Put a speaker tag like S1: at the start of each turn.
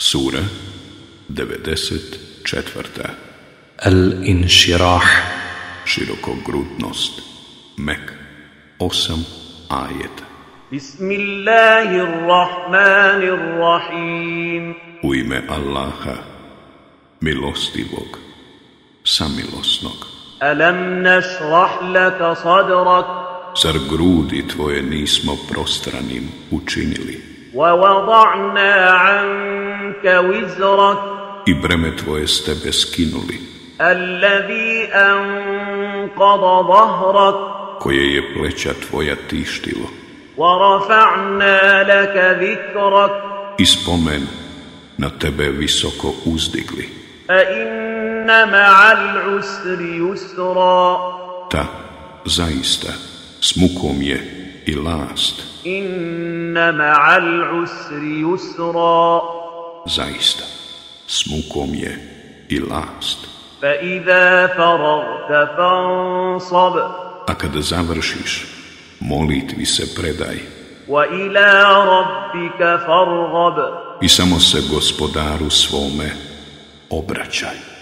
S1: Sura 94.
S2: الانشراح
S1: Širokogrutnost. Mek. 8 ajeta.
S3: بسم الله الرحمن الرحيم
S1: U ime Allaha, milostivog, samilosnog.
S3: ألم نشرح لك صدرك
S1: Zar grudi tvoje nismo prostranim učinili
S3: ووضعنا عنك وزرك
S1: i breme tvoje s tebe skinuli,
S3: الذي أنقض ظهرك
S1: koje je pleća tvoja tištilo
S3: ورفعنا لك ذكرك
S1: i spomen na tebe visoko uzdigli.
S3: فإن مع العسر يسرا
S1: Ta, zaista, s mukom je i last,
S3: إن مع العسر يسرا
S1: Zaista, s mukom je i last.
S3: فإذا فرغت فانصب
S1: A kada završiš, molitvi se predaj
S3: وإلى ربك فارغب
S1: i samo se gospodaru svome obraćaj.